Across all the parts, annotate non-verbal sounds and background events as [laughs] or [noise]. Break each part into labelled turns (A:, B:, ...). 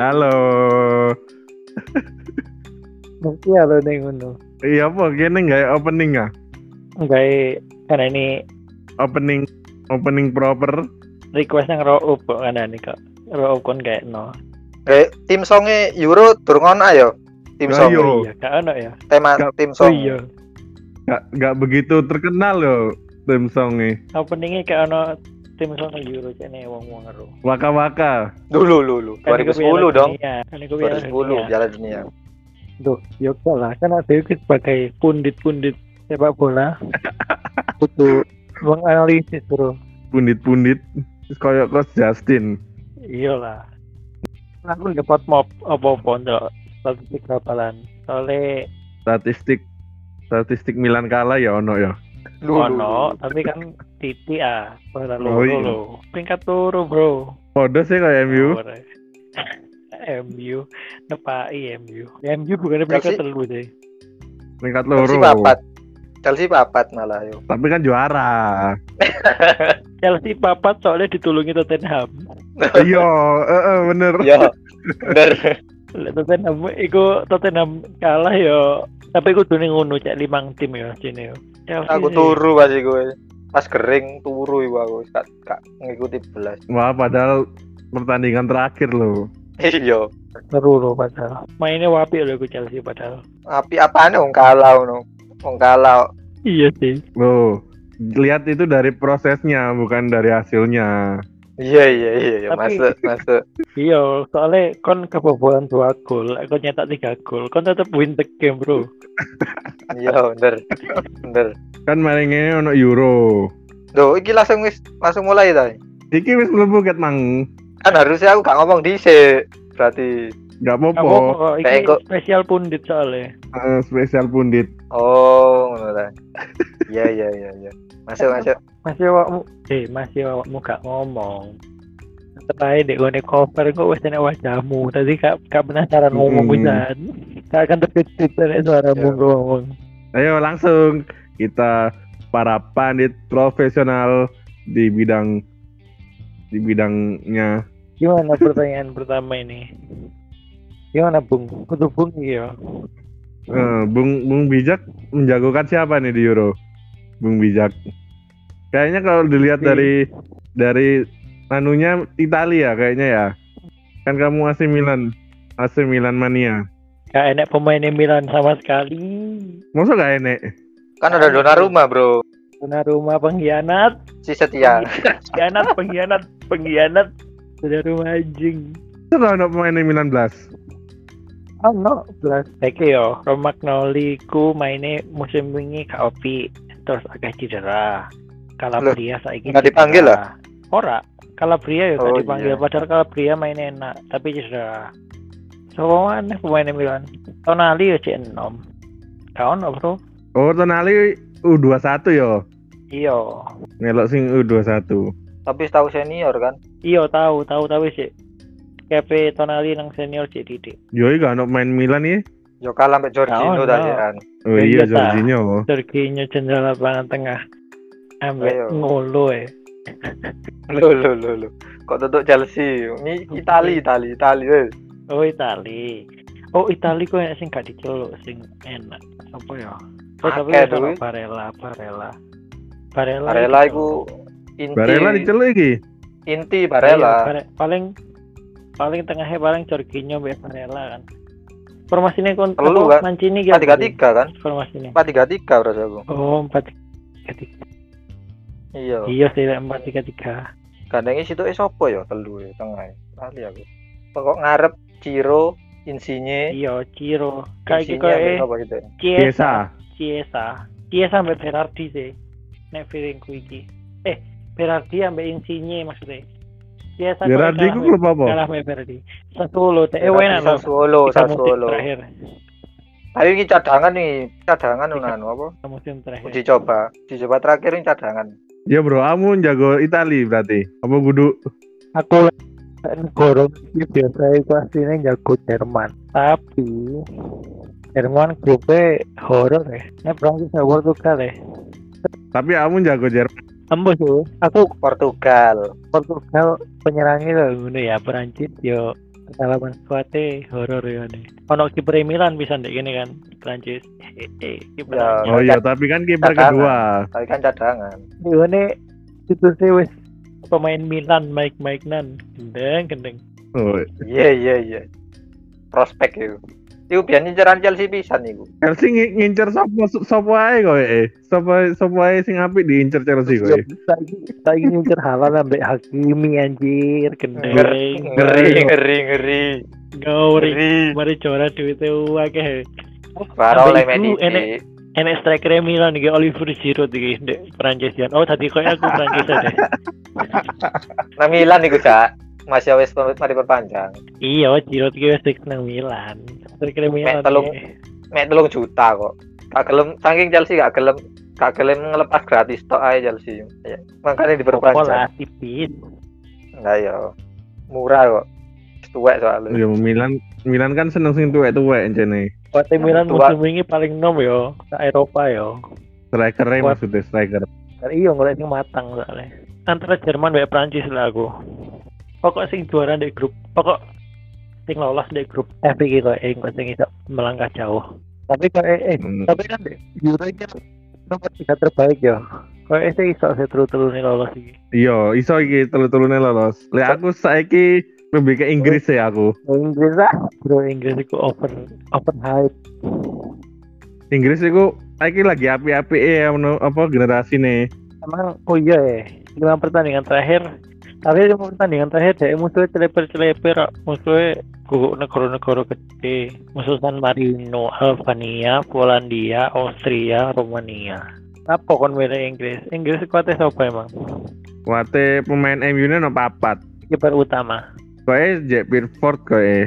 A: Halo.
B: Mesti halo ning ngono.
A: Iya apa kene nggak opening ah?
B: Gawe karena ini
A: Opening opening proper.
B: request nang raw up kok kan ini kok. Raw up kon kayak no.
C: Eh, tim songe Euro durung ono ya. Tim
A: Lah
C: song
A: iya.
B: Oh iya, gak ono ya.
C: tema
A: Gak-
C: tim
B: Oh
C: song.
B: iya.
A: Nggak nggak begitu terkenal loh tim songe.
B: Openingnya kayak ono tim sono Euro kene wong-wong ngeru.
A: Waka waka.
C: Dulu dulu
B: Kan iku
C: 2010
B: Piala
C: dong.
B: Dunia, Kan iku Piala
C: 2010
B: Dunia.
C: Piala Dunia.
B: Duh, yo kok lah kan ada itu sebagai pundit-pundit sepak bola. Butuh menganalisis, Bro.
A: Pundit pundit. Koyok kos Justin.
B: Iyalah. Iya Aku dapat mop apa-apa untuk statistik rapalan. Soalnya
A: Statistik statistik Milan kalah ya ono ya.
B: ono, tapi kan titik ah, pada
A: Oh,
B: loro
A: iya.
B: lho. Peringkat loro, Bro.
A: Podo sih ya kayak
B: [laughs]
A: MU.
B: Ora. MU nepai MU. MU bukan peringkat
C: Chelsea?
B: telu deh.
A: Peringkat
C: Chelsea
A: loro.
C: papat. Chelsea papat malah [laughs] yo.
A: Tapi kan juara.
B: Chelsea papat soalnya ditulungi Tottenham.
A: Iya, eh, eh, bener.
C: Yo. Iya, Bener.
B: Lah, Tottenham iku Tottenham kalah yo. Tapi iku dunia ngono cek limang tim ya sini yo. Chelsea
C: Aku
B: sih.
C: turu pas gue. Pas kering turu iku aku gak gak ngikuti belas. [laughs]
A: Wah, padahal pertandingan terakhir loh.
C: Iya.
B: Seru loh padahal. Mainnya wapi loh iku Chelsea padahal.
C: Api apane wong kalah ngono. Wong kalah.
B: Iya sih.
A: Loh, lihat itu dari prosesnya bukan dari hasilnya.
C: Iya iya iya iya.
B: Tapi-
C: masuk masuk.
B: Iya, soalnya kon kebobolan dua gol, kon nyetak tiga gol, kon tetep win the game bro.
C: Iya bener. Bener.
A: Kan maringnya ono Euro.
C: Duh, iki langsung wis langsung mulai ta.
A: Iki wis mlebu ket mang.
C: Kan harusnya aku gak ngomong dhisik. Berarti
A: Gak
B: Kamu
A: apa-apa,
B: kok
C: Kayak
B: ini
C: kok-
B: eh, spesial pundit soalnya.
A: eh, spesial pundit.
C: Oh, ngono ta. Iya, iya, iya, iya. Masuk, masuk.
B: Masih awakmu, eh masih awakmu gak ngomong. Setelah dek gue cover, gue wes enak wajahmu. Tadi gak gak penasaran
A: Hmm.
B: ngomong pisan. Gak akan terkejut dari suaramu
C: Ya.
B: gue ngomong.
A: Ayo langsung kita para pandit profesional di bidang di bidangnya
B: Gimana pertanyaan pertama ini? Gimana bung? Kudu bung iya.
A: Eh, Bung Bung Bijak menjagokan siapa nih di Euro? Bung Bijak. Kayaknya kalau dilihat
B: Si-
A: dari dari anunya Italia kayaknya ya. Kan kamu AC Milan. AC Milan mania.
B: Gak enak pemainnya Milan sama sekali.
A: Masa gak enek?
C: Kan ada Donnarumma, Bro.
B: Punya rumah pengkhianat.
C: Si setia.
B: Pengkhianat, pengkhianat, pengkhianat. Punya rumah anjing.
A: Masa gak ada pemain Milan belas?
B: Oh no, plus. Iki yo, Romagnoli ku maine musim wingi gak opi, terus agak cedera. Calabria saiki
C: nggak dipanggil
B: cedera. Ora, Calabria yo gak
C: Oh,
B: dipanggil,
C: iya.
B: padahal Calabria mainnya enak, tapi cedera. Sopo mana pemain Milan? Tonali yo cek enom. Kaon no, Bro?
A: Oh, Tonali U21 yo.
C: Iya.
B: Iyo.
A: ya? Ngelok sing U21.
C: Tapi tahu senior kan.
B: Iyo Iya, tahu, tahu tahu sih. Kepe Tonali nang senior cek didik.
A: Yoi gak ada pemain Milan ya?
C: Yo kalah sampe Jorginho
B: Kawan,
C: tadi
B: no.
C: kan. [laughs]
A: Oh
B: Ya,
A: iya,
B: iya, Ta.
A: Jorginho.
B: Jorginho jendela lapangan tengah.
C: Ayo.
B: Ambek ngolo eh.
C: Lho, lho, lho, lho. Kok tutup Chelsea? Ini Itali, Itali, Itali. weh.
B: Oh Itali. Oh Itali kok enak sing gak diceluk sing enak. Apa ya? Oh tapi
C: Akeh,
B: ada
C: duit.
B: Barella, Barella. Barella.
C: Barella
B: diceluk.
C: iku inti.
A: Barella diceluk iki.
C: Inti
B: Iya,
C: Barella.
B: Bare- paling paling tengahnya paling Jorginho mbek Barella kan. Formasinya kon
C: Telu,
B: apa,
C: kan?
B: Mancini kira-
C: 433 kan?
B: Formasinya.
C: 433 berarti aku.
B: Oh, 433.
C: Iya.
B: Iya sih 433.
C: Gandengi situ eh sopo ya telu ya tengah. Itali aku. Pokok ngarep Ciro, Insigne,
B: Iya, Ciro. Kayak eh.
C: Insigne ambek
B: kok
C: sopo gitu.
B: Chiesa.
A: Biasa.
B: Chiesa. Chiesa sampai Berardi sih. Nek feelingku iki. Eh, Berardi sampai Insigne maksudnya. Chiesa kok
A: Gerardi ku Ya,
B: kalah
A: klub
B: sampe-
A: apa?
B: Kalah sampai Berardi. Sassuolo teh eh
C: Berarti
B: enak loh.
C: Sassuolo,
B: Tiga musim
C: Sassuolo.
B: terakhir.
C: Tapi ini cadangan nih, cadangan
B: Iya.
C: unan apa?
B: Tiga musim terakhir.
C: Uji coba, uji coba terakhir ini cadangan.
A: Ya bro, kamu jago Itali berarti. Apa kudu
B: Aku gorong biasa itu aslinya jago Jerman. Tapi Jerman grupnya horor ya. Nek Prancis sama Portugal ya.
A: Tapi kamu jago Jerman.
B: Ambos sih. Aku
C: Portugal,
B: Portugal penyerangnya loh ngono ya Perancis yo pengalaman suate horor ya nih ono kiper Milan bisa ndek kene kan Prancis [laughs] eh eh kiper
C: Ya.
A: Oh iya, tapi kan kiper
C: Cadangan.
A: kedua.
C: tapi kan cadangan
B: ini itu sih wis pemain Milan Mike Mike nan gendeng gendeng
A: Oh,
C: iya iya iya prospek itu itu biasanya nyerang Chelsea pisan iku
A: Chelsea ngi- ngincer sapa sapa ae kowe. eh. Sapa sapa ae sing apik diincer Chelsea eh? kowe.
B: lagi lagi ngincer halal ambek Hakimi anjir
C: ngeri
B: gendeng
C: ngeri ngeri ngeri
B: gauri
C: ngeri
B: mari jora duwite akeh
C: Baru oleh
B: Sampai iku enek-
C: Medici
B: enek striker Milan iki Oliver Giroud iki ndek Prancis ya oh tadi koyo aku [laughs] Prancis aja
C: nah Milan iku cak masih wis mari perpanjang
B: Iya, Giroud iki wis fix nang Milan. Striker Milan.
C: telung.
B: iki.
C: mek telung juta kok gak gelem saking Chelsea gak gelem gak gelem ngelepas gratis tok ae Chelsea ya,
B: Apa
C: makanya
B: lah
C: diperpanjang
B: tipis.
C: nah ya murah kok tuwek soalnya
A: Ya Milan Milan kan seneng sing tuwek-tuwek encene.
B: Kuate Milan
C: Tua.
B: musim ini paling nom yo, sak Eropa yo.
A: Striker
B: Wah.
A: maksudnya striker.
B: Kan iya golek sing matang soalnya. Antara Jerman wae Prancis lah aku. Pokok sing juara di grup, pokok sing lolos di grup F iki kok eh kok sing iso melangkah jauh. Tapi kok eh, eh,
A: Hmm.
B: tapi kan deh, Euro iki nomor tiga terbaik yo. Kok eh sih iso seteru-terune lolos iki.
A: Iya, iso iki telu-telune lolos. Lek aku saiki lebih ke Inggris ya aku.
B: Inggris lah, bro Inggris iku over over hype.
A: Inggris iku saiki lagi api-api ya menu- apa generasi nih.
B: emang oh iya ya lima pertandingan terakhir tapi lima pertandingan terakhir dia musuhnya celeper-celeper musuhnya guguk negara-negara gede musuh San Marino Albania Polandia Austria Rumania apa kon milih Inggris Inggris kuatnya siapa emang
A: Wate pemain MU ne no papat.
B: kiper utama
A: Koe Jack Pickford koe.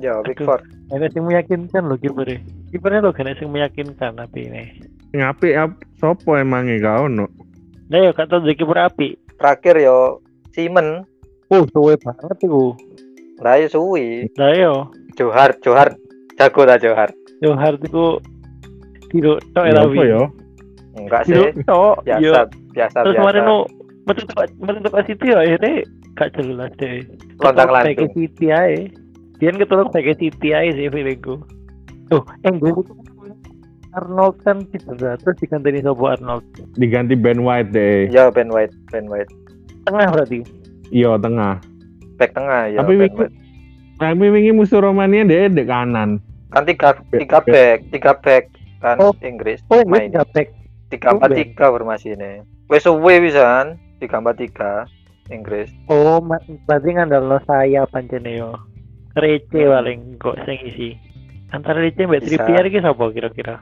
C: ya Big
B: Aduh.
C: Four
B: ini sing meyakinkan lo kipernya kipernya lo gak sing meyakinkan tapi ini
A: Sing apik ap- sopo emange kau no?
B: nah ya kata jadi kiper api
C: terakhir yo Simon
B: oh suwe banget iku
C: lah ya suwi
B: nah ya
C: Johar Johar jago ta Johar
B: yo hard iku Tiro, tok
A: Ya, apa
B: elawi.
A: ya?
C: enggak
B: Tiro,
C: sih
B: tok, yo.
C: biasa biasa
B: terus
C: biasa
B: kemarin lu metu tempat metu tempat City ya akhirnya gak jelas deh
C: Lontang
B: Ketolak
C: lantung.
B: back City aja Bian ketolak back City aja sih feelingku tuh eh gue itu kan Arnold kan cedera terus diganti sopo Arnold
A: Diganti Ben White deh.
C: ya Ben White Ben White
B: tengah berarti
A: Iya tengah.
C: back tengah ya
A: Tapi
C: Ben
A: wingi
C: White.
A: tapi wingi musuh Romania deh dek kanan.
C: kan tiga tiga back tiga back kan
B: Oh.
C: Inggris
B: oh gue
C: main
B: nggak back
C: tiga empat
B: Tumben.
C: tiga formasi ini wes suwe pisan tiga empat tiga Inggris
B: oh ma- berarti ngandal lo saya pancene yo Rece paling kok sing isi antara Rece mbak
C: Bisa.
B: Trippier ki sopo kira-kira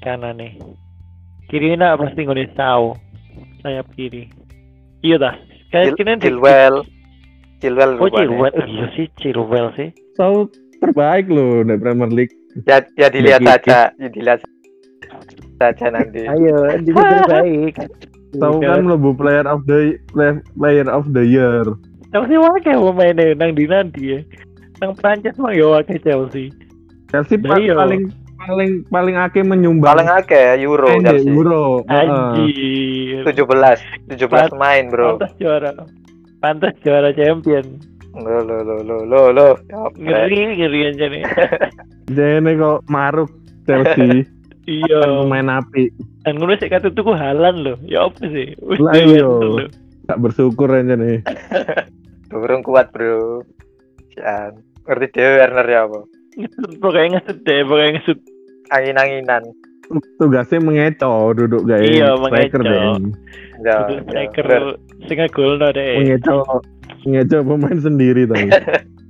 B: kanan nih kiri ini pasti gue tahu sayap kiri iya dah kayak
C: Chil-
B: kini di-
C: Chilwell Chilwell
B: oh
C: rupanya.
B: Chilwell oh, iya sih Chilwell sih
A: So terbaik loh di Premier League.
C: ya ya dilihat
A: Begitu.
C: saja ya dilihat saja nanti
B: gitu. ayo jadi terbaik
A: Tahu kan mlebu player of the play- player of the year.
B: tahu sih wakil pemainnya nang di nanti ya nang Prancis mah ya wakil Chelsea
A: Chelsea
B: Nah,
A: pa-
B: iya.
A: paling paling paling akeh menyumbang
C: paling akeh ya, Euro
A: main deh,
C: Chelsea
A: Euro. Heeh.
B: anjir
C: 17 17 main bro
B: pantas juara pantas juara champion
C: lo lo lo lo lo lo Ya,
B: ngeri ngeri aja
C: [laughs]
B: nih
A: Jene kok maruk
B: [laughs]
A: Chelsea
B: iya
A: kan pemain api.
B: dan gue sih kata tuh halan loh ya apa sih Wis
A: Lah
B: jalan
A: iya.
B: loh.
A: Tak bersyukur aja nih.
C: durung kuat bro Sian. ngerti dhewe Werner ya apa
B: ngesut pokoknya ngesut deh pokoknya ngesut
C: angin-anginan
A: Tugasnya mengeco duduk gak
B: Iya,
A: striker
B: mengeco.
A: deh.
C: ya
B: Duduk
C: ya.
B: striker
C: Ber-
B: singa gol no deh
A: Mengeco mengeco pemain sendiri tapi.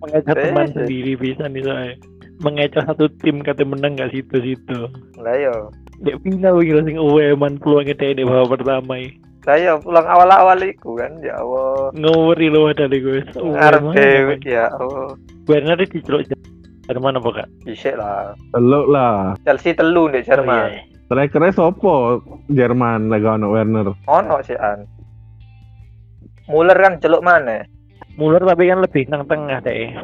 B: mengecoh
C: Eh,
B: teman
C: eh.
B: sendiri bisa nih soalnya mengecoh satu tim kata menang gak situ situ
C: lah iya. yo
B: dek final gila sing uwe man peluangnya deh di babak pertama ya.
C: lah yo pulang awal-awal iku kan ya Allah
B: ngeri loh ada di gue
C: arep dhewe ya Allah
B: Werner diceluk Jerman apa kak?
C: Bisik lah
A: Teluk lah.
C: Chelsea telu di
B: Oh,
C: Jerman
B: iya.
A: Strikernya sopo Jerman lagi ono Werner.
B: iya.
C: ono sih an Muller kan celuk mana
B: Muller tapi kan lebih nang tengah deh.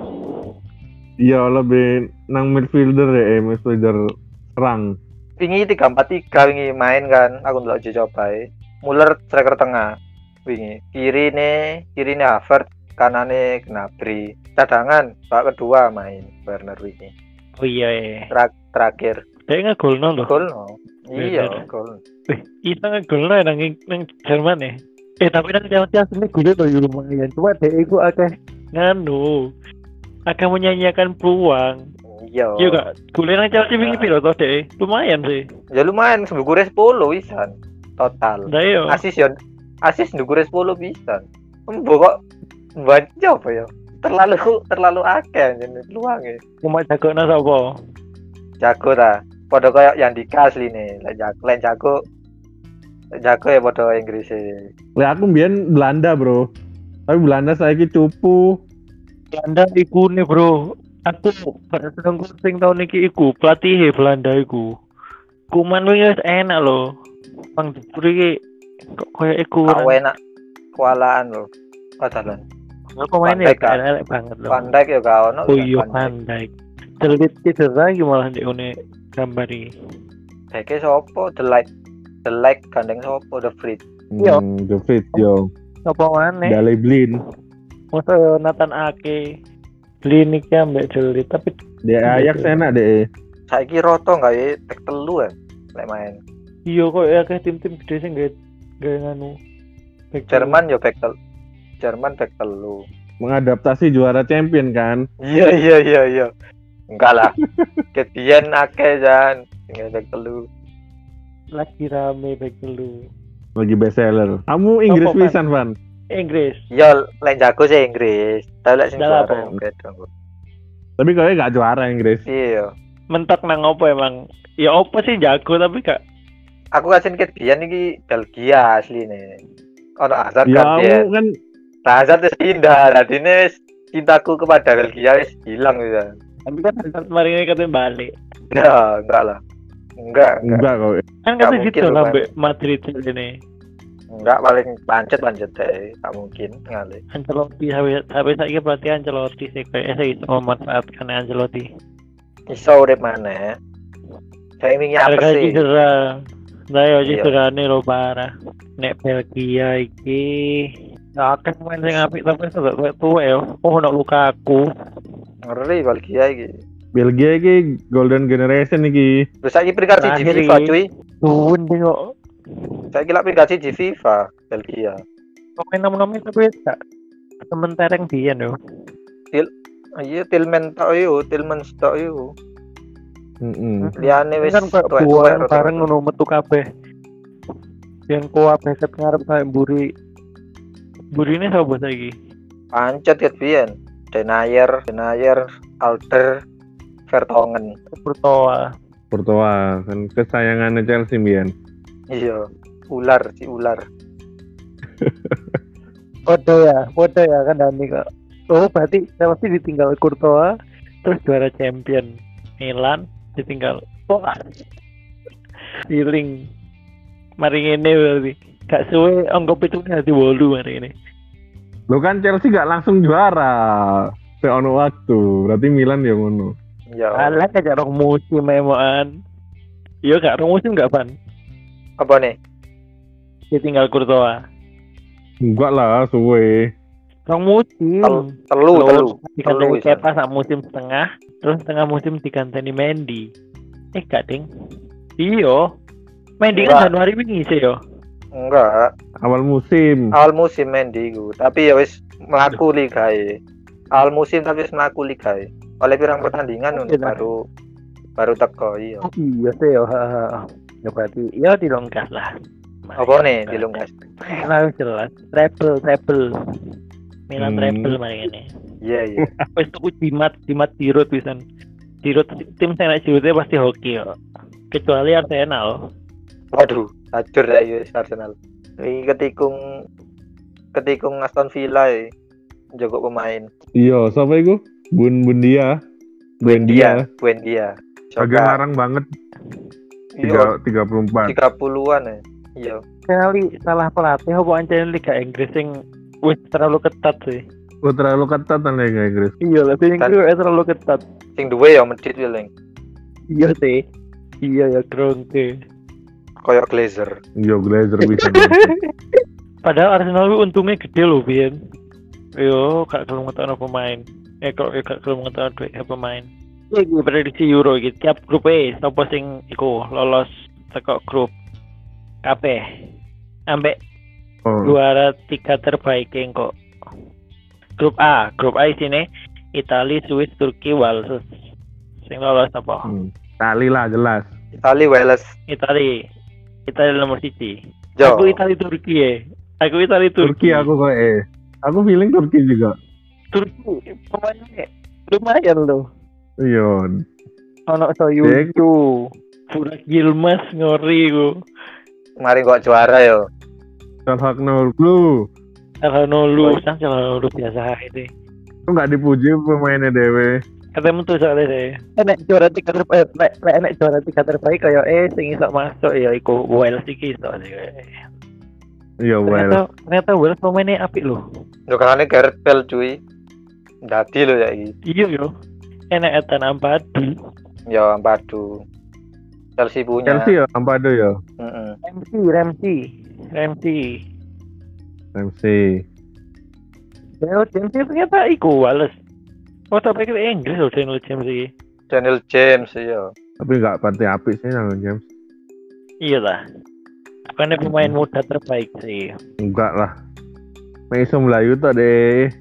A: Iya lebih nang midfielder ya, eh, midfielder serang.
C: wingi 343 wingi main kan aku ndelok uji coba e. Muller striker tengah wingi kiri ne kiri ne Havertz kanane Gnabry cadangan bak kedua main Werner ini
B: Oh iya iya.
C: terakhir
B: Dia ngegolno loh.
C: gol no iya
B: Werner.
C: gol
B: Wih, itu ngegolno iya, ya, nang nang Jerman ya. Eh tapi nang Jerman sih asli gule loh yo ya, lumayan. Cuma dia iku akeh nganu. Akan menyanyiakan peluang.
C: iya
B: Iya kak, gule nang Chelsea wingi
C: Nah.
B: piro toh deh? Lumayan sih.
C: ya lumayan sebukure 10 pisan total
B: Nah iya.
C: [laughs] asis ya asis ndukure 10 pisan embo kok banyak apa ya terlalu terlalu akeh jenenge peluange
B: Cuma jago nang sapa?
C: jago ta padha koyo yang dikas line lek jago lek jago lek jago ya padha Inggris e
A: Lah aku mbiyen Belanda, Bro. Tapi Belanda saiki cupu.
B: Belanda iku nih bro. Aku pada seneng sing tahun iki iku pelatih Belanda iku. Kuman wingi wis enak loh. Bang Duri kok koyo iku.
C: kau enak kualaan lo katalan
B: Aku mainnya
C: Van Dijk, Kak.
B: elek ya? banget loh.
C: pandai ya gak ono
B: Oh iya Van Dijk. Celit cedera iki malah ndek une gambari.
C: Deke sopo the like the like gandeng sopo the free
B: Iya.
A: Hmm, the fit yo.
B: Apa maneh?
A: Dale Blin.
B: Masa yo Nathan Ake kliniknya ambek celit tapi
A: Dia Ajax
B: Betul.
A: enak deh.
C: saiki roto gak ya tek telu ya lek main
B: iya kok ya kayak tim-tim gede sing gak gak nganu. Back
C: Jerman yo back telu Jerman back telu
A: Mengadaptasi juara champion kan.
C: iya iya iya iya enggak
B: [laughs]
C: lah ketian akeh jan tinggal back telu
B: telu. lagi rame back telu.
A: Lagi best seller. Kamu Inggris
B: Van?
A: pisan, Van.
B: Inggris.
C: iya lek jago sih Inggris tapi lek sing
B: Dalah,
C: juara
B: Bang.
C: yang beda kok.
A: Tapi kau gak juara Inggris.
C: iya
B: Mentok nang opo emang? Ya opo sih jago tapi gak
C: aku kasih ketian iki Belgia asli nih ono Hazard
A: Ya
C: kan dia
A: kamu kan
C: Nah, Hazard wis pindah tadi nih cintaku kepada Belgia wis hilang ya
B: tapi kan Hazard mari ini katanya balik.
C: Nah, enggak lah. Enggak, enggak.
A: enggak kau.
B: Kan
C: Gak
B: katanya
C: mungkin
B: gitu
C: lu
B: lah
C: balik.
B: ambek Madrid ini. Hmm.
C: Enggak paling pancet-pancet deh. Enggak mungkin kali.
B: Ancelotti habis habis lagi berarti Ancelotti sih kayak eh, saya bisa memanfaatkan Ancelotti.
C: Iso urip maneh. Saya ingin apa
B: Harga
C: sih?
B: iki cedera. Nah, ya iki
C: Iya.
B: cederane lo parah. Nek Belgia iki Ya akan main sing apik tapi sebab koyo tuwek yo. Oh ono luka aku.
C: Ngeri Belgia iki.
A: Belgia ini golden generation iki.
C: Terus saiki peringkat siji
B: Terakhir
C: FIFA
B: iki.
C: cuy.
B: Suwun tengok.
C: Saiki lak peringkat siji FIFA Belgia.
B: Pemain nom-nomnya tapi gak temen tereng biyen yo.
C: Iya Tilman tok yo, Tilman tok yo.
A: Mm-mm.
C: Liyane Ya, wis
B: Kan kayak
C: tuwek-tuwek
B: buang
C: rata-rata.
B: bareng ngono metu kabeh. Yang kuat beset ngarep kayak buri. Burine sapa saiki?
C: pancet ket biyen. Denayer, Denayer, Alder, Vertongen.
B: Pertoa.
A: Courtois kan kesayangannya Chelsea Bian.
C: Iya. Ular, si ular.
B: Podo ya, podo ya kan Dani kok. Oh berarti saya pasti ditinggal Courtois, terus juara champion Milan, ditinggal Poa. Feeling. Mari ini berarti. Gak suwe angka pitunya hati wolu mari ini.
A: Lo kan Chelsea gak langsung juara. Seono waktu. Berarti Milan ya ngono.
C: Iya.
B: Alah gak rong musim eh, emoan. Iya gak rong musim gak pan.
C: Apa nih?
B: Ditinggal Courtois.
A: Enggak lah, suwe.
B: Rong musim.
C: Tel- Telu, telu.
B: Dikanteni
C: telu, Isan.
B: Kepa sak musim setengah, terus setengah musim dikanteni Mendy. Eh gak ding. Iya. Mendy
C: Enggak.
B: kan Januari wingi sih yo.
C: Enggak.
A: Awal musim.
C: awal musim Mendy iku, tapi ya wis mlaku ligae. Awal musim tapi wis mlaku ligae. Oleh pirang pertandingan
B: Oke,
C: untuk
B: lah.
C: baru baru teko iya.
B: iya sih yo. Ya berarti ya dilongkas lah. iya,
C: Apa nih dilungkas?
B: Nah jelas. Treble, treble. Milan
A: Hmm.
B: treble mari ini.
C: Iya iya.
B: Wis tuku jimat, jimat dirut pisan. Dirut tim saya nek dirutnya pasti hoki yo. Kecuali Arsenal.
C: Waduh, hancur ya wis Arsenal. Iki ketikung ketikung Aston Villa ya. Jago pemain.
A: Iya, siapa itu? Bun Bundia.
C: Iya,
A: Bundia.
C: Buendia.
A: Agak larang banget
C: Iya,
A: 3, 34.
C: 30-an ya. Iya.
B: Kali salah pelatih apa ancen Liga Inggris sing wis terlalu ketat sih.
A: Oh, terlalu ketat kan Liga Inggris.
B: Iya, tapi yang
C: Ketat.
B: kedua terlalu ketat.
C: Sing duwe ya medit willing.
B: Iya sih. Iya ya Gronke.
C: Kayak Glazer.
B: [laughs]
A: Yo Glazer bisa.
B: Padahal Arsenal itu untungnya gede loh, Bian. yo gak gelem ngetokno pemain. Eh kok yo gak gelem ngetokno duit ke pemain. Iki prediksi Euro iki tiap grup E sapa sing iku lolos teko grup kabeh. Ambek
A: Oh,
B: juara tiga terbaik yang kok. Grup A, grup A sini Italia, Swiss, Turki, Wales. Sing lolos apa?
A: hmm. Tali lah jelas.
C: Itali Wales
B: Italia. Italia nomor siji.
C: Jo
B: Aku Italia Turki ya. Aku Italia
A: Turki
B: Turki.
A: aku kok eh. Aku feeling Turki juga.
B: Turki pemainnya lumayan loh.
A: Iya.
B: Ono
A: Dek.
B: Soyuncu, Burak Yilmaz ngori ku.
C: kemarin kok juara yo
A: Salhak Nurglu.
B: Calhanoglu, sang Calhanoglu biasa itu.
A: Itu nggak dipuji pemainnya dewe.
B: Ketemu tuh soalnya saya. Enak juara tiga terbaik, eh, nek- nek enak juara tiga terbaik kayak eh sing iso masuk ya iku Wales iki iso.
A: Iya, well.
B: Ternyata ternyata Wales pemainnya apik loh.
C: yo karena Gareth Bale cuy dadi lho ya iki
B: Iya yo. Enak etan Ampadu,
C: yo Ampadu Chelsea punya
A: Chelsea ya, Ampado ya.
C: Mm-mm.
B: Ramsey, Ramsey, Ramsey.
A: Chelsea.
B: Daniel James itu ternyata iku Wales. Oh, tak pikir Inggris loh Daniel James iki.
C: Daniel James yo
A: Tapi nggak pantai api sih nang James.
B: Iya lah. Bukannya pemain muda terbaik sih.
A: Enggak lah. Nek iso Melayu tok deh.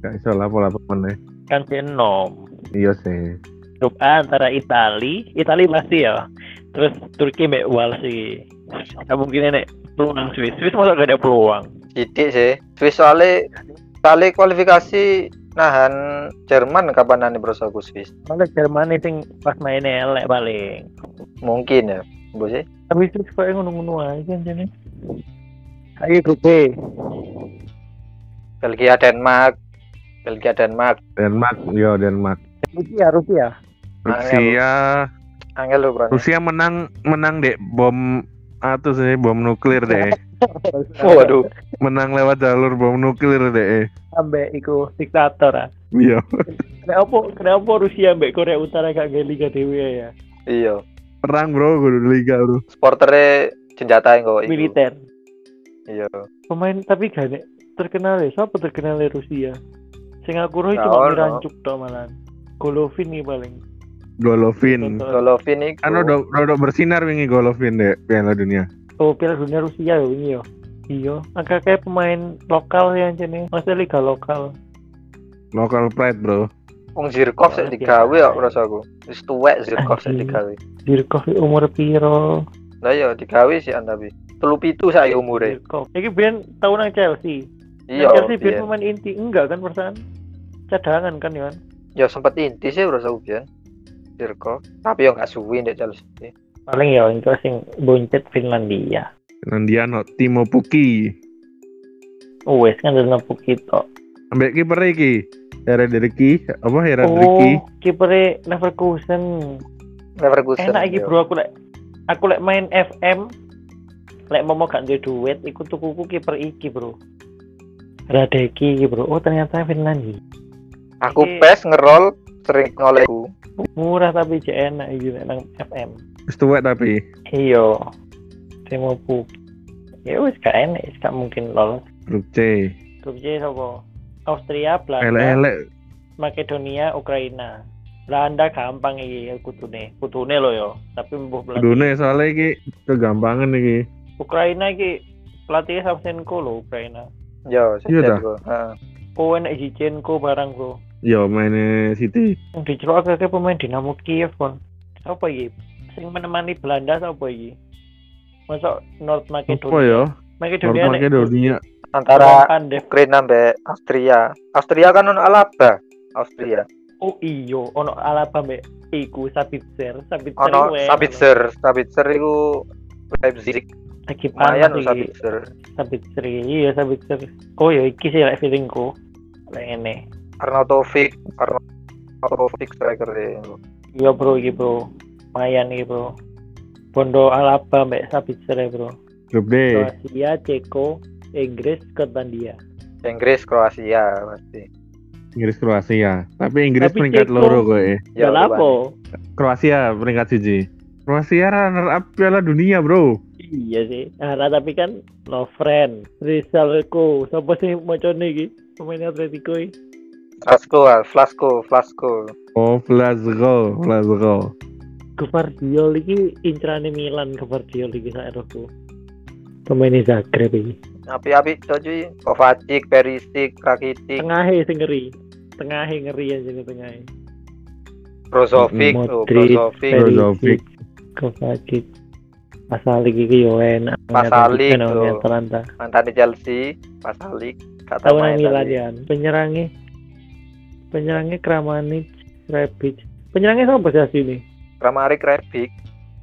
A: Gak iso lah pola pemainnya.
B: Kan si enom.
A: Iya sih.
B: Grup A antara Itali, Itali pasti ya. Terus Turki mbak Wales sih. Gak mungkin nek peluang Swiss. Swiss masa gak ada peluang.
C: Sidik sih Swiss soalnya kali kualifikasi nahan Jerman kapan nanti bro aku Swiss
B: Malah Jerman sing pas mainnya elek paling.
C: mungkin ya bu sih
B: Tapi Swiss kok ngono-ngono aja kan jane. Ayo grup B.
C: Belgia Denmark Belgia Denmark
A: Denmark, iya Denmark.
B: Rusia, Rusia. Nah, ya,
A: Rusia,
C: angel lho bro
A: Rusia menang menang dek bom atau sih bom nuklir deh.
C: [laughs] waduh
A: Menang lewat jalur bom nuklir deh.
B: Ambek iku diktator ah.
A: Iya.
B: Kenapa kenapa Rusia mbak Korea Utara gak gak liga dewe ya?
C: iya
A: Perang bro, kudu liga bro.
C: sporternya senjata yang kok itu
B: Militer.
C: iya
B: Pemain tapi gak nek terkenal ya. Siapa terkenal ya Rusia? Sing aku roh
C: Gak
B: cuma
C: Nah, ono.
B: Mirancuk tok malahan. Golovin nih paling.
A: Golovin.
B: Tonton.
C: Golovin itu
A: Anu do, do, do bersinar wingi Golovin deh Piala Dunia.
B: Oh, Piala Dunia Rusia ya ini yo. Iya, agak kayak pemain lokal ya jane. Maksudnya liga lokal.
A: Local pride bro.
C: Wong Zirkov sik digawe kok rasa aku. Wis tuwek Zirkov sik digawe.
B: Dirkov umur piro?
C: Lah ya digawe sik an tapi. Telu pitu sak umure.
B: Dirkov. Iki ben tahun nang Chelsea.
C: Iya.
B: Nang Chelsea ben
C: biyen.
B: pemain inti enggak kan perasaan? Cadangan kan ya.
C: Ya sempat inti sih rasa aku biyen. kan. Zirkov. Tapi yo gak suwi ndek Chelsea.
B: Paling ya itu sing boncet Finlandia.
A: Nandiano Timo Puki.
B: Wes kan dalam kita.
A: Ambek kiper iki. Heredriki, apa Heredriki?
B: Oh, kipernya Leverkusen.
C: Leverkusen.
B: Enak iki
C: yo.
B: bro aku lek aku lek main FM lek mau gak duwe duit iku tukuku kiper iki bro. Radeki iki bro. Oh ternyata Finlandia.
C: Aku
B: Iki
C: pes ngerol sering ngoleku.
B: murah tapi jek enak iki lek nang FM.
A: Wis tuwek tapi.
B: Iya. Temo pu. Ya wis gak enak, wis gak mungkin lolos.
A: Grup C.
B: Grup C sapa? Austria, Belanda,
A: Elek-elek
B: Makedonia, Ukraina. Belanda gampang iki kutune. Kutune lho yo, tapi mbuh Belanda.
A: dunia soalnya iki kegampangan iki.
B: Ukraina iki pelatihnya Savchenko lho Ukraina.
C: Yo, sik
A: Iya dah.
C: Heeh.
B: Kowe nek Zichenko barang bro.
A: Yo mainnya City.
B: Yang dicelok akeh pemain Dinamo Kiev kon. Apa iki? Sing menemani Belanda sapa iki? Masuk North
A: Apa
B: Macedonia.
A: ya?
B: Macedonia
A: North Makedonia.
C: Antara
B: Pandef.
C: Ukraina mbek Austria. Austria kan ono Alaba. Austria.
B: Oh iya, ono Alaba mbek iku Sabitzer, Sabitzer. iku
C: Ono
B: enak.
C: Sabitzer. Sabitzer iku Leipzig.
B: Lagi
C: Lumayan
B: panas
C: lho
B: iki.
C: Sabitzer.
B: Sabitzer. Iya, Sabitzer. Oh ya iki sih lek feelingku. Lek ngene.
C: Arnautovic. Arnautovic striker e. deh.
B: Iya bro, iki bro. Lumayan iki bro. Bondo Alaba mbek Sabitzer ya, bro.
A: Grup D.
B: Kroasia, Ceko, Inggris, Skotlandia.
C: Inggris Kroasia pasti
A: Inggris Kroasia. Tapi Inggris
B: Tapi
A: peringkat
B: Ceko-
A: loro kok eh.
B: Ya lapo?
A: Kroasia peringkat siji. Kroasia runner up Piala Dunia, Bro.
B: Iya sih. Nah, nah, tapi kan no friend. Rizalku, sapa sih macam iki? pemain Atletico eh.
C: Flasco, ah, Flasco, Flasco.
A: Oh, Flazgo, Flazgo.
B: Guardiol iki incerane Milan Guardiol iki sak eroku. Pemain Zagreb iki.
C: Api-api to cuy. Kovacic, Perisic, Rakitic,
B: Tengahe sing ngeri. Tengahe ngeri aja nih tengahe.
C: Brozovic,
B: Modric,
C: tuh, Brozovic,
B: Perisic.
A: Brozovic.
B: Kovacic. Pasalik iki yo enak.
C: Pasalic,
B: Enak,
C: tuh.
B: kan Atalanta.
C: mantan di Chelsea, Pasalik, kata
B: Tahu nang Milan ya. Penyerangnya penyerangnya Kramanic, Rebic. Penyerangnya sama sih sini.
C: Kramarik, Rebic,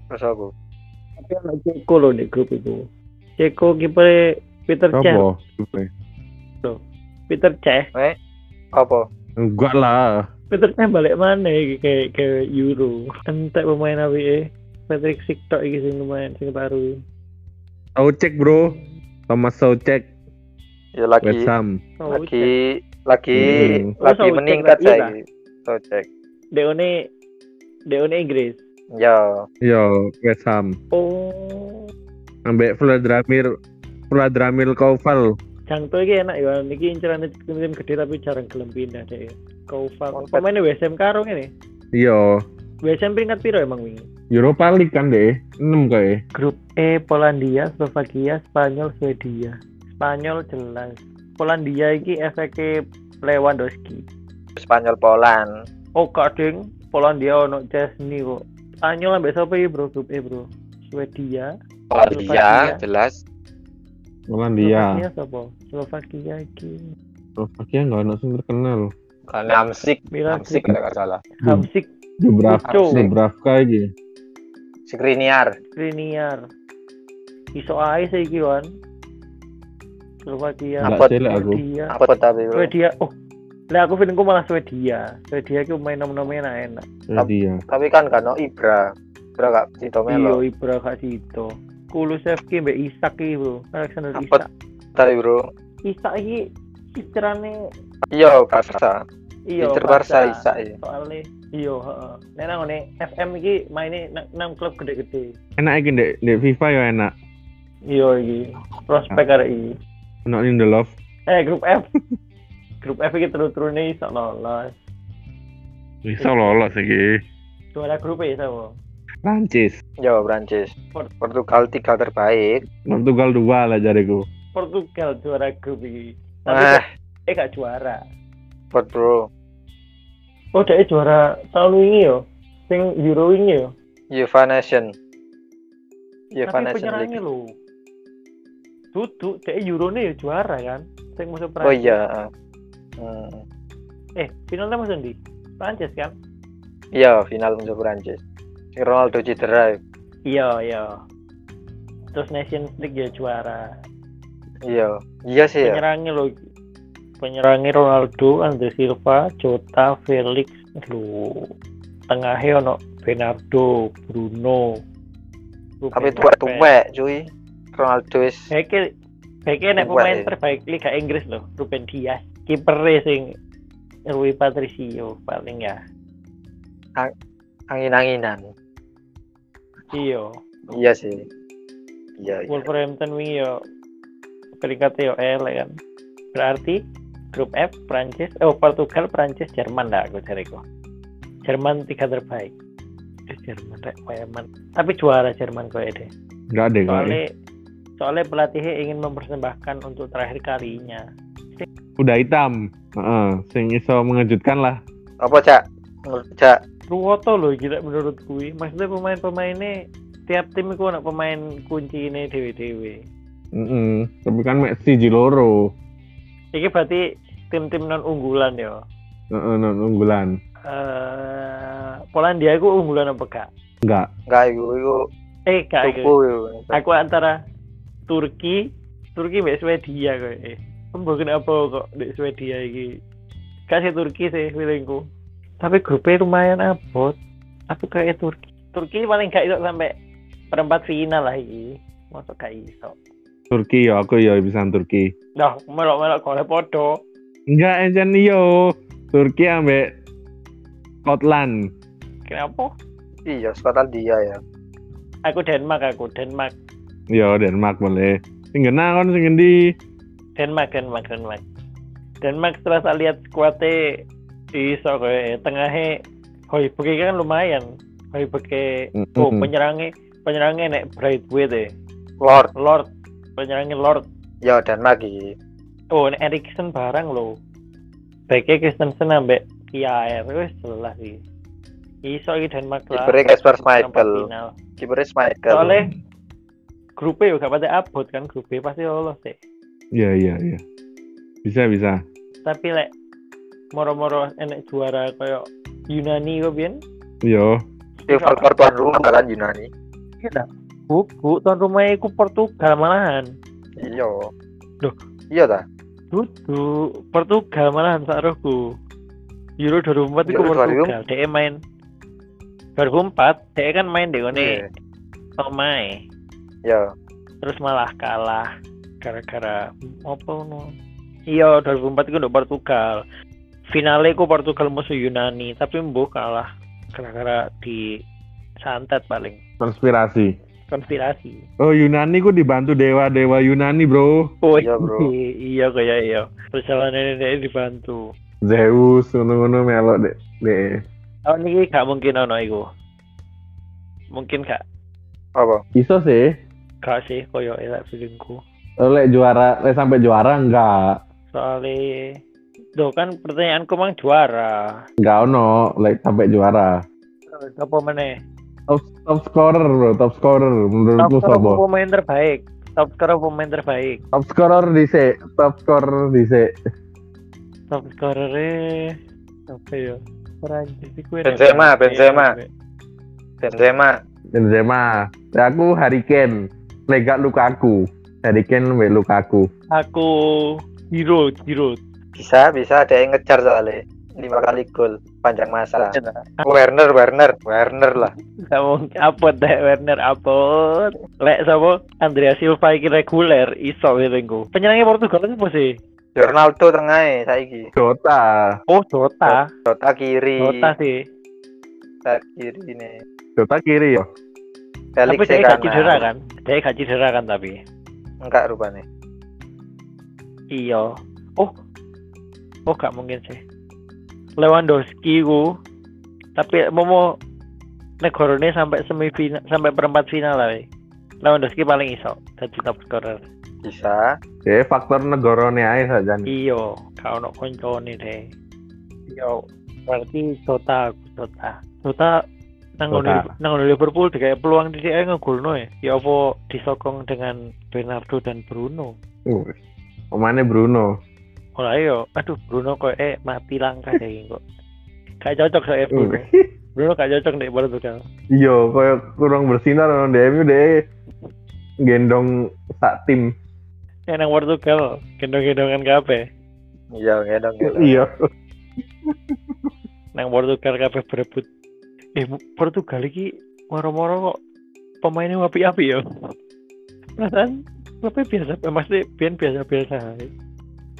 C: terus aku.
B: Tapi anak Ceko loh di grup itu. Ceko kiper Peter Cech.
A: Apa?
B: Peter Cech.
C: Apa?
A: Enggak lah.
B: Peter Cech balik mana iki ke ke Euro. Entek pemain awake. Patrick Siktok iki sing lumayan sing baru.
A: Tahu cek bro. Thomas Soucek,
C: Ya lagi,
A: West Ham.
B: Oh,
C: lagi, lagi,
A: Hmm.
C: lagi
B: Terus aku
C: meningkat
B: cek lagi,
C: saya. So cek.
B: Deone Deone Inggris.
C: Ya,
A: Yo, West Ham.
B: Oh,
A: Ambek Vladimir Vladimir Koval.
B: Cangto iki enak ya. Niki incerane tim-tim gede tapi jarang gelem pindah deh. Kau
C: Kontak.
B: pemainnya WSM karo ngene.
A: Yo,
B: WSM peringkat piro emang wingi?
A: Europa League kan deh. eh. 6 kayak.
B: Grup E Polandia, Slovakia, Spanyol, Swedia. Spanyol jelas. Polandia iki efeknya Lewandowski.
C: Spanyol Poland.
B: Oh kak ding, Polandia ono Chesney kok. Spanyol ambek sapa iki bro grup E bro? Swedia, Slovakia.
C: Polandia, jelas.
A: Polandia.
B: Slovakia sapa? Slovakia iki.
A: Slovakia enggak ono sing terkenal.
C: Kan Hamsik,
B: Milan
C: Hamsik
B: Hamsik,
C: nggak salah.
B: Hamsik,
A: Dubravka,
B: Cuk.
A: Dubravka iki.
C: Skriniar,
B: Skriniar. Iso ae sih iki wan. Slovakia,
A: Enggak
C: Apa?
A: jelek aku.
B: Swedia.
C: apa tapi bro?
B: Swedia, oh. Lah aku feelingku malah Swedia. Swedia iki main nom-nomnya enak-enak.
A: Dia.
C: Tapi kan kan no Ibra, Ibra gak Cito Melo.
B: Iya, Ibra gak sido. Kulusevski mbek Isak iki, Bro. Alexander
C: Apa?
B: Isak.
C: Tapi bro,
B: Isak iki istirane
C: iya Barca,
B: iya
C: Inter Barca
B: Barca.
C: Isa ya.
B: Soale iya, heeh. Nek nang ngene FM iki maine nang- nang klub gede-gede.
A: Enak iki ndek ndek FIFA yo enak.
B: Iya iki. Prospek arek iki.
A: Ono Lindelof.
B: Eh, grup F. [laughs] grup F iki turu-turune iso lolos.
A: Bisa lolos iki.
B: Juara grup ya sama.
A: Prancis.
C: Jawa Prancis.
B: Port-
C: Portugal tiga terbaik.
A: Portugal dua lah jariku.
B: Portugal juara grup iki. Tapi
C: Ah,
B: eh gak juara.
C: Port bro.
B: Oh, dia juara tahun wingi yo. Sing Euro wingi yo.
C: UEFA Nation. UEFA
B: Tapi
C: Nation
B: penyerangnya
C: League.
B: lo. Duduk, dia Euro nih juara kan. Sing musuh Prancis.
C: Oh iya. ah. Hmm.
B: Eh, finalnya musuh di Prancis kan?
C: Iya, final musuh Prancis. Si Ronaldo cedera. ya.
B: Iya, iya. Terus Nations League ya juara.
C: Iya. Iya sih ya.
B: Penyerangnya lo. Penyerangnya Ronaldo, Andre Silva, Jota, Felix, lo. Tengahnya ono Bernardo, Bruno.
C: Tapi tua-tua cuy. Ronaldo is
B: Baiknya, baiknya nek
C: Tua,
B: pemain
C: ya.
B: terbaik Liga Inggris loh, Ruben Dias. Kiper e sing Rui Patricio paling ya.
C: angin-anginan.
B: Iya,
C: Iya sih. Iya, iya.
B: Wolverhampton wingi yo peringkatnya yo elek kan. Berarti grup F Prancis, oh Portugal, Prancis, Jerman lah aku cari kok. Jerman tiga terbaik. Eh, Jerman rek Jerman. Tapi juara Jerman kok deh.
A: Enggak deh kok.
B: Soalnya soalnya pelatihnya ingin mempersembahkan untuk terakhir kalinya.
A: Udah hitam. Heeh, sing iso mengejutkan lah.
C: Apa, Cak? Menurut Cak,
B: Ruwoto loh gila menurut gue. Maksudnya pemain-pemainnya tiap tim itu anak pemain kunci ini dewe-dewe.
A: Heeh. Tapi kan mek siji loro.
B: Iki berarti tim-tim non unggulan ya.
A: Heeh, non unggulan.
B: Eh, Polandia itu unggulan apa gak?
A: Enggak.
C: enggak iku iku
B: Eh, gak.
C: tuku
B: aku.
C: iku.
B: Aku antara Turki, Turki mbak Swedia kok. Eh, mungkin apa kok di Swedia iki? Kasih Turki sih feelingku. Tapi grupnya lumayan abot. Tapi kayak Turki. Turki paling gak iso sampai perempat final lah iki. Masuk gak iso.
A: Turki yo aku yo bisa Turki.
B: Nah, melok-melok golek podo.
A: Enggak encen yo. Turki ambek Scotland.
B: Kenapa?
C: Iya, Skotlandia ya.
B: Aku Denmark, aku Denmark,
A: Yo Denmark boleh. Sing kena kon sing ngendi?
B: Denmark, Denmark, Denmark. Denmark setelah saya lihat kuatnya iso kayak tengahnya Hoiberg kan lumayan Hoiberg oh
A: Mhm.
B: penyerangnya penyerangnya nek Braithwaite deh
C: Lord,
B: Lord penyerangnya Lord
C: ya Denmark iki.
B: oh nek Erikson barang loh baiknya Kristensen ambek Kiaer wes jelas sih iso iki Denmark lah
C: Kipernya
B: perempat
C: Kasper Schmeichel.
B: final.
C: Kipernya Schmeichel.
B: soalnya grupnya juga pada abot kan grupnya pasti lolos deh
A: Iya iya iya. Bisa bisa.
B: tapi lek moro-moro enek juara kayak Yunani kok biyen
A: Yo.
C: Silver Cord tuan rumah kan Yunani.
B: Iya Bu, bu, tuan rumahnya iku Portugal malahan.
C: Iya.
B: Loh.
C: Iya ta?
B: Dudu, Portugal malahan saroku. Euro 2004 iku
C: Euro
B: Portugal. Dia main 2004, dia kan main di kone
C: Iya.
B: Tomai.
C: Iya.
B: Terus malah kalah gara-gara apa no? Iya, 2004 iku nduk Portugal. Finale ku Portugal musuh Yunani, tapi mbuh kalah gara-gara di santet paling
A: Konspirasi.
B: konspirasi.
A: Oh Yunani ku dibantu dewa-dewa Yunani bro.
B: Oh
C: Iya, Bro.
B: [laughs] iya kayak iya. Perjalanan ini dibantu.
A: Zeus ngono-ngono melok deh. De.
B: Tahun Oh, ini gak mungkin ono iku. Mungkin gak
C: Apa?
A: Iso sih.
B: gak sih koyo elek feelingku.
A: Oleh juara, oleh sampai juara enggak.
B: Soale Loh kan pertanyaanku mang juara.
A: Enggak ono, oleh sampai juara.
B: Terus Apa meneh?
A: Top, top scorer bro, top scorer
B: Top
A: menurutku
B: scorer
A: sobo.
B: pemain terbaik. Top scorer pemain terbaik.
A: Top scorer dhisik, top scorer dhisik.
B: Top scorer apa ya? Perancis iku ya. enak.
C: Benzema, Benzema. Benzema.
A: Benzema. Ya, aku Harry Kane, nek gak Lukaku. Harry Kane mbek Lukaku.
B: Aku Giroud, Giroud.
C: Bisa, bisa ada yang ngejar soalnya. Lima kali gol panjang masa. Werner, Werner, Werner lah.
B: Gak mungkin apot deh Werner apot. Lek sapa Andrea Silva iki reguler iso wilingku. Penyerangnya Portugal itu apa sih?
C: Ronaldo tengah saiki.
A: Jota.
B: Oh, Jota.
C: Dota kiri.
B: Jota sih.
C: Dota kiri ini.
A: Jota kiri ya.
C: Felix
B: tapi
C: ya
B: dia gak cedera
C: kanan.
B: kan? Dia gak cedera kan tapi.
C: Enggak rupanya.
B: Iya. Oh. Oh, gak mungkin sih. Lewandowski ku. Tapi Momo negorone sampai semifinal sampai perempat final lah. weh. Lewandowski paling iso dadi top scorer.
C: Bisa.
A: Ya faktor negorone ae saja nih.
B: Iya, gak ono koncone deh. Iya, berarti Jota, aku, Jota. Jota nang ngono
A: Jota.
B: Liver- nang ngono Liverpool dikai peluang di dia ngegolno ya. Ya apa disokong dengan Bernardo dan Bruno.
A: Uh, Omane Bruno.
B: Ora yo, aduh Bruno kok eh mati langkah deh kok. Gak cocok soalnya
A: Uh.
B: Bruno. Bruno gak cocok nih Portugal.
A: Iya, koyo kurang bersinar nang DMU deh. E. Gendong sak tim.
B: Ya nang Portugal gendong-gendongan kabeh.
C: Iya, ngedong. ngedong.
A: Iya.
B: Nang Portugal kabeh berebut. Eh mu- Portugal iki moro-moro kok pemainnya api-api ya. Perasaan tapi biasa pasti pian biasa-biasa ae.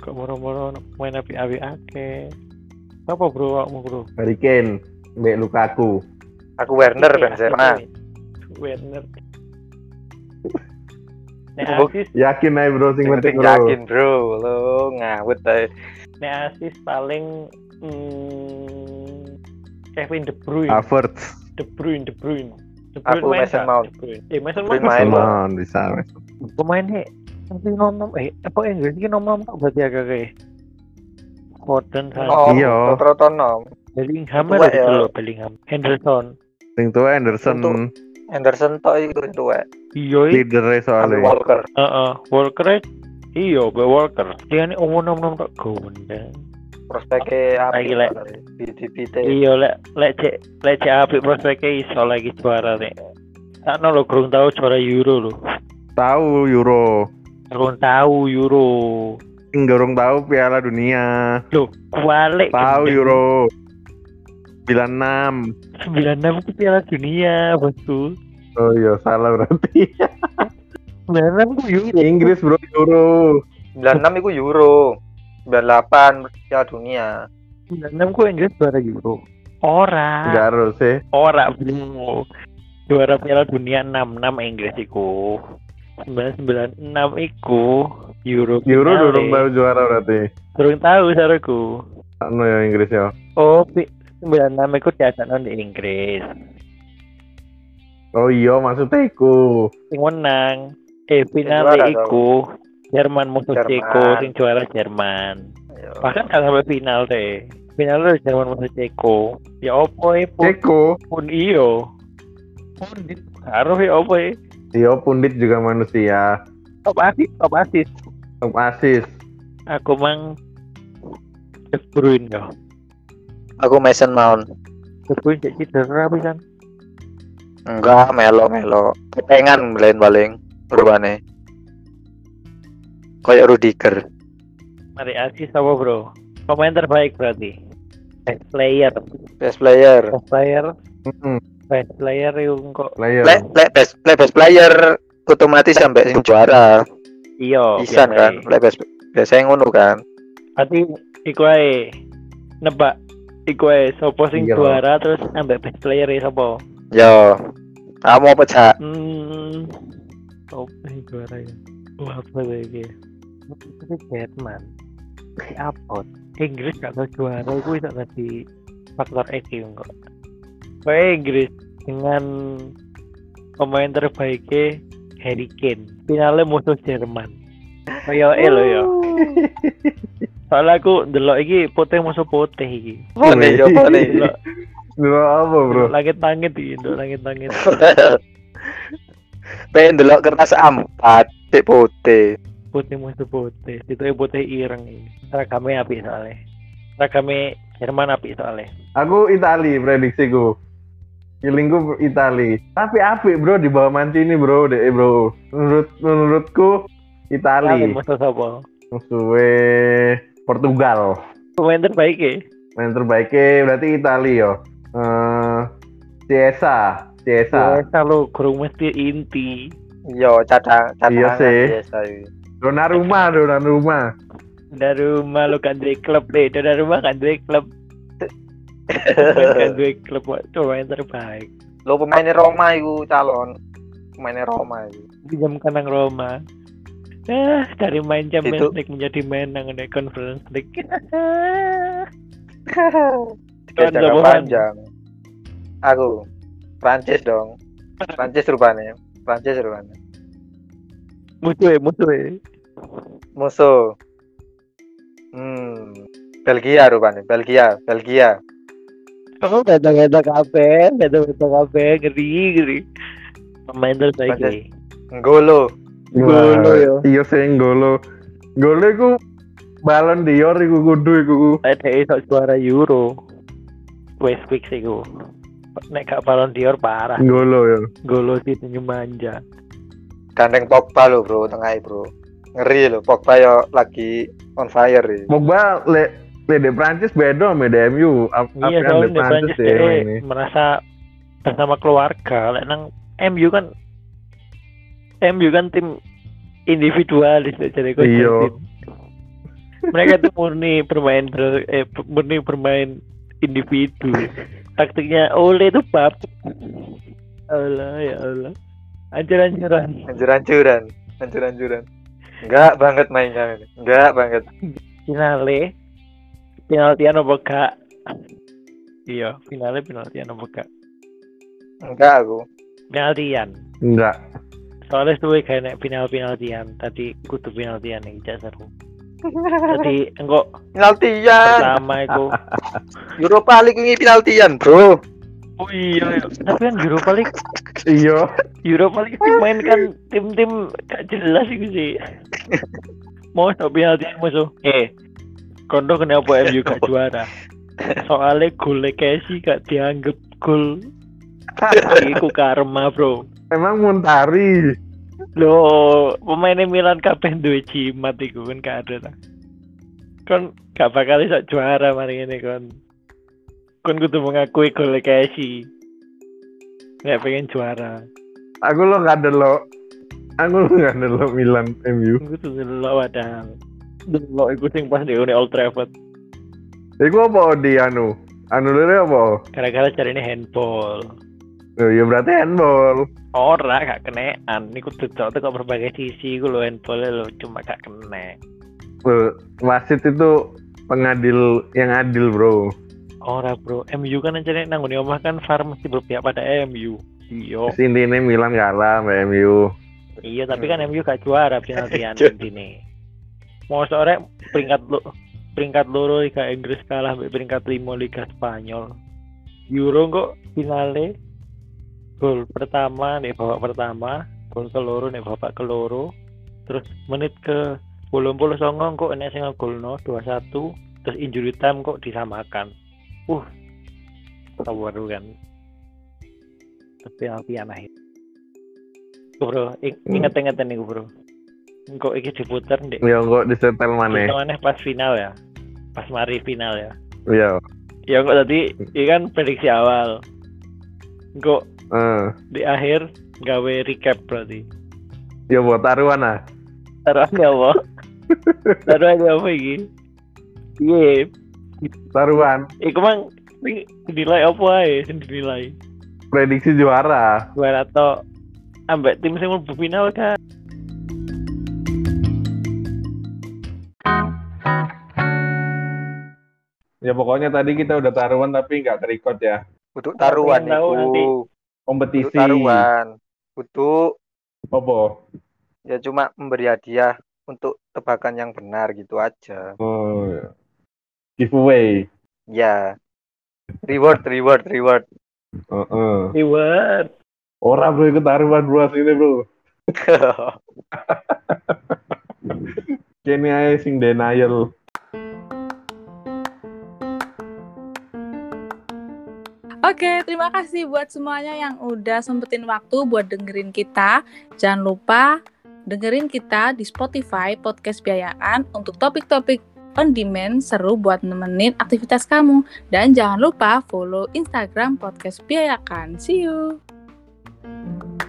B: Kok moro-moro main api-api akeh. Apa bro awakmu bro?
A: Harry Kane mbek Lukaku.
C: Aku Werner
B: Iki
C: Benzema.
B: asik, weh. Werner. Nek
C: Buk-
B: asis,
A: Yakin ae bro sing
C: Sing
A: penting
C: penting
A: bro.
C: yakin bro, lo ngawet aja.
B: nek asis paling hmm, Kevin De Bruyne.
A: Havertz.
B: De Bruyne, De Bruyne. De
C: Aku
B: main nggak?
C: Mason Mount.
B: De Bruyne. Eh, Mason
C: Bruyne
B: Mount
C: main.
B: main.
A: Come on, bisa. wes.
B: Pemainnya nanti nomor eh apa Inggris ini nomor empat berarti agak kayak eh? Foden,
C: Oh,
A: Iya.
C: Rototo nom.
B: Bellingham
C: Tua
B: ada
C: ya.
B: itu loh Bellingham, Henderson.
A: Sing tua Anderson
C: Untuk- Anderson tok iku sing tuwek.
B: Iya,
A: leader
C: Sampai
A: soalnya.
C: Walker.
B: heeh, eh, Walker. Iya, be Walker. Dia ini umur nom nom tak gondeng.
C: Prospeke
B: Lagi,
C: api.
B: Lek.
C: Di DPT.
B: Iya, lek lek cek lek cek apik prospeknya iso lagi juara nih. Tak no lo kurang tahu juara Euro lo.
A: Tahu Euro.
B: Kurang tahu Euro.
A: Sing gorong tahu Piala Dunia.
B: Loh, kualik.
A: Tahu
B: gendeng.
A: Euro. 96.
B: 96 ku Piala Dunia, bosku.
A: Oh iya, salah
C: [laughs]
A: berarti.
B: 96 ku Euro.
A: Inggris bro, Euro.
C: 96 iku Euro. 98 Piala Dunia.
B: 96 ku Inggris juara Euro. Ora,
C: Ah.
A: Enggak harus eh. sih.
B: ora bro. Juara Piala Dunia 66 Inggris iku. 1996 iku
A: Euro
B: Euro finale.
A: durung tau juara berarti.
B: Durung tahu saruku.
A: Anu ya Inggris ya.
B: Oh, pi- 96 iku diadakno di Inggris.
A: Oh iya maksudnya iku.
B: Sing menang eh
C: juara,
B: finale
C: tau.
B: iku Jerman musuh
C: Jerman.
B: Ceko sing juara Jerman.
C: Ayo.
B: Bahkan gak sampai final deh. Final lu Jerman musuh Ceko. Ya opo e pun,
A: Ceko.
B: pun iyo. Pun di- harus ya opo e.
A: Iya pundit juga manusia.
B: Top asis, top asis.
A: Top asis.
B: Aku mang De Bruyne ya. yo.
C: Aku Mason Mount.
B: De Bruyne cek cedera kan? pisan.
C: Enggak, melo melo. Kepengan lain paling rupane. Kayak Rudiger.
B: Mari asis apa bro? Pemain terbaik berarti. Best player,
C: Best player.
B: best player,
A: Mm-mm.
B: Hmm. best player yung kok
A: Player. [laughs]
C: Lek lek best lek best player otomatis sampai sing juara.
B: iyo
C: Isan
B: biasa
C: kan.
B: e.
C: Lek best biasanya ngono kan.
B: Berarti iku ae nebak iku ae sapa sing
A: Iya.
B: juara terus ambek best player e sapa?
C: Yo. Kamu apa, Cak?
B: Hmm. Sapa sing juara ya? Wah, apa ya iki? Itu Jerman. Si Abot. Eh, Inggris gak tau juara iku iso dadi faktor X kok. Kayak Inggris dengan pemain terbaiknya Harry Kane. Finalnya musuh Jerman. Kayak eh lho ya. Soalnya aku delok iki putih musuh putih iki.
A: Oh,
C: Ini
A: iya.
C: siapa nih?
B: Delok
A: Dulu apa bro?
B: delok langit-langit iki, delok langit-langit.
C: [laughs] Pengen delok kertas A4 cek putih.
B: Putih musuh putih. Itu putih ireng iki. Seragamnya apik soalnya. Seragamnya Jerman apik soalnya.
A: Aku Itali prediksiku. Feelingku Itali. Tapi apik bro di bawah Mancini bro, deh bro. Menurut menurutku
C: Iya.
A: Itali.
B: Kali musuh sapa?
A: Musuhnya Portugal.
B: Pemain terbaik
C: Iya.
B: ya?
A: Main terbaiknya berarti Itali yo. Eh Ciesa, Ciesa.
B: Biasa lo kurung Iya, mesti inti.
C: Yo,
A: Iya
C: cadang cadangan
A: sih.
C: biasa. iya.
A: Donnarumma, Donnarumma.
B: Dari rumah lo kan dari klub deh. Dari rumah kan dari
C: [laughs]
B: klub. kan dari klub. Itu pemain terbaik.
C: Lo pemainnya Roma iku calon. Pemainnya Roma iku.
B: Pinjam kanang Roma. Ah, dari main Champions
C: Itu-
B: League menjadi main nang di Conference
C: [laughs]
B: League.
C: Kayak
B: Kan
C: jangka
B: jagoan.
C: panjang. Aku Prancis dong. Prancis rupanya. Prancis rupanya.
B: musuh ya, musuh ya.
C: Musuh. Hmm. Belgia rupanya. Belgia, Belgia.
B: Oh, beda-beda kabeh, beda-beda kabeh, ngeri, ngeri. Pemain terbaik
C: Prancis.
B: ya.
C: Ngolo.
B: Golo, yo.
A: Iya sing golo. Golo iku balon dior iku kudu iku.
B: ada esok juara Euro West Week sih gue nek gak Ballon d'Or parah
A: Golo ya. yo.
B: golo sih senyum manja
C: Gandeng Pogba lo, Bro, tengah Bro. Ngeri lo, Pogba yo lagi on fire. ya.
A: Pogba le le di Prancis beda sama di MU. Ap-
B: iya
A: apaan di
B: soalnya Prancis eh,
A: ya emang ini.
B: dia merasa bersama keluarga lek nang MU kan MU kan tim individualis lek jadi gue
A: Iya.
B: mereka tuh murni bermain ber, eh, murni bermain individu taktiknya Ole itu bab Allah ya Allah anjuran-anjuran
C: Anjur-anjuran. Anjur-anjuran. Enggak banget mainnya ini. Enggak banget.
B: finale penaltian apa gak iya finale penaltian apa gak
C: Enggak aku.
B: penaltian
A: Enggak.
B: soalnya suwe kayak nek final penaltian tadi kudu penaltian yang gak seru jadi engko
C: Penaltian.
B: pertama iku
C: Europa League ini penaltian, Bro.
B: [laughs] oh iya tapi kan Europa League
A: Iya.
B: Europa League sih main kan tim-tim gak jelas iku sih mau sok penaltian musuh eh kondo kenapa MU gak juara soalnya golnya Casey gak dianggap gol iku karma bro
A: Emang Montari.
B: Loh, pemainnya Milan kabeh duwe jimat iku kan gak ada ta. Kon gak bakal iso juara mari ngene kon. Kon kudu mengakui gol Casey. Nek pengen juara.
A: Aku lo nggak ada lo. Aku lo nggak ada lo Milan MU.
B: Iku tuh delok padahal. Delok iku sing pas di Old Trafford
A: Iku apa di anu? Anu lere apa?
B: gara-gara carine handball.
A: Loh, ya berarti handball.
B: Ora gak kenaan. Niku dedok teko berbagai sisi iku lho handball lho cuma gak kena.
A: Loh, wasit itu pengadil yang adil,
B: Oh.
A: Bro.
B: Ora, Bro. MU kan ancane nanggone omah kan VAR mesti berpihak pada MU. Iya.
A: Terus intinya Milan kalah sama MU.
B: Iya, tapi kan MU gak juara penaltian intine. Mau sore peringkat lu peringkat loro Liga Inggris kalah mbek peringkat lima Liga Spanyol. Euro kok finale gol pertama nih babak pertama, gol keloro nih babak keloro. Terus menit ke 89 kok enek sing ngegolno 2-1, terus injury time kok disamakan. Uh. Tawaru kan. Tapi api aneh. Bro, ik-
A: Hmm.
B: inget-inget nih bro. Kok iki diputer ndek
A: Ya kok disetel maneh.
B: Hitungannya pas final ya. Pas mari final ya.
A: Ya.
B: Ya kok tadi ini kan prediksi awal. Kok
A: Eh,
B: di akhir gawe recap berarti.
A: ya buat taruhan ah.
B: Taruhan gak apa? Taruhan gak apa iki? Iya,
A: Taruhan
B: iku mang ini dinilai apa ae sing dinilai?
A: prediksi juara.
B: Juara atau ambek tim sing mlebu final kan?
A: Ya pokoknya tadi kita udah taruhan tapi nggak record ya.
C: Untuk taruhan
B: Pengen tahu nanti.
C: itu. Untuk
A: Kompetisi.
C: taruhan. Untuk
A: Apa?
C: ya cuma memberi hadiah untuk tebakan yang benar gitu aja.
A: Oh, ya. giveaway.
C: Ya. Reward, reward, reward.
A: Heeh.
B: Reward.
A: Orang bro ikut taruhan bro ini bro.
C: [laughs]
A: Kini aja sing denial.
D: Oke, terima kasih buat semuanya yang udah sempetin waktu buat dengerin kita. Jangan lupa dengerin kita di Spotify Podcast Biayaan untuk topik-topik on demand seru buat nemenin aktivitas kamu. Dan jangan lupa follow Instagram Podcast Biayakan. See you!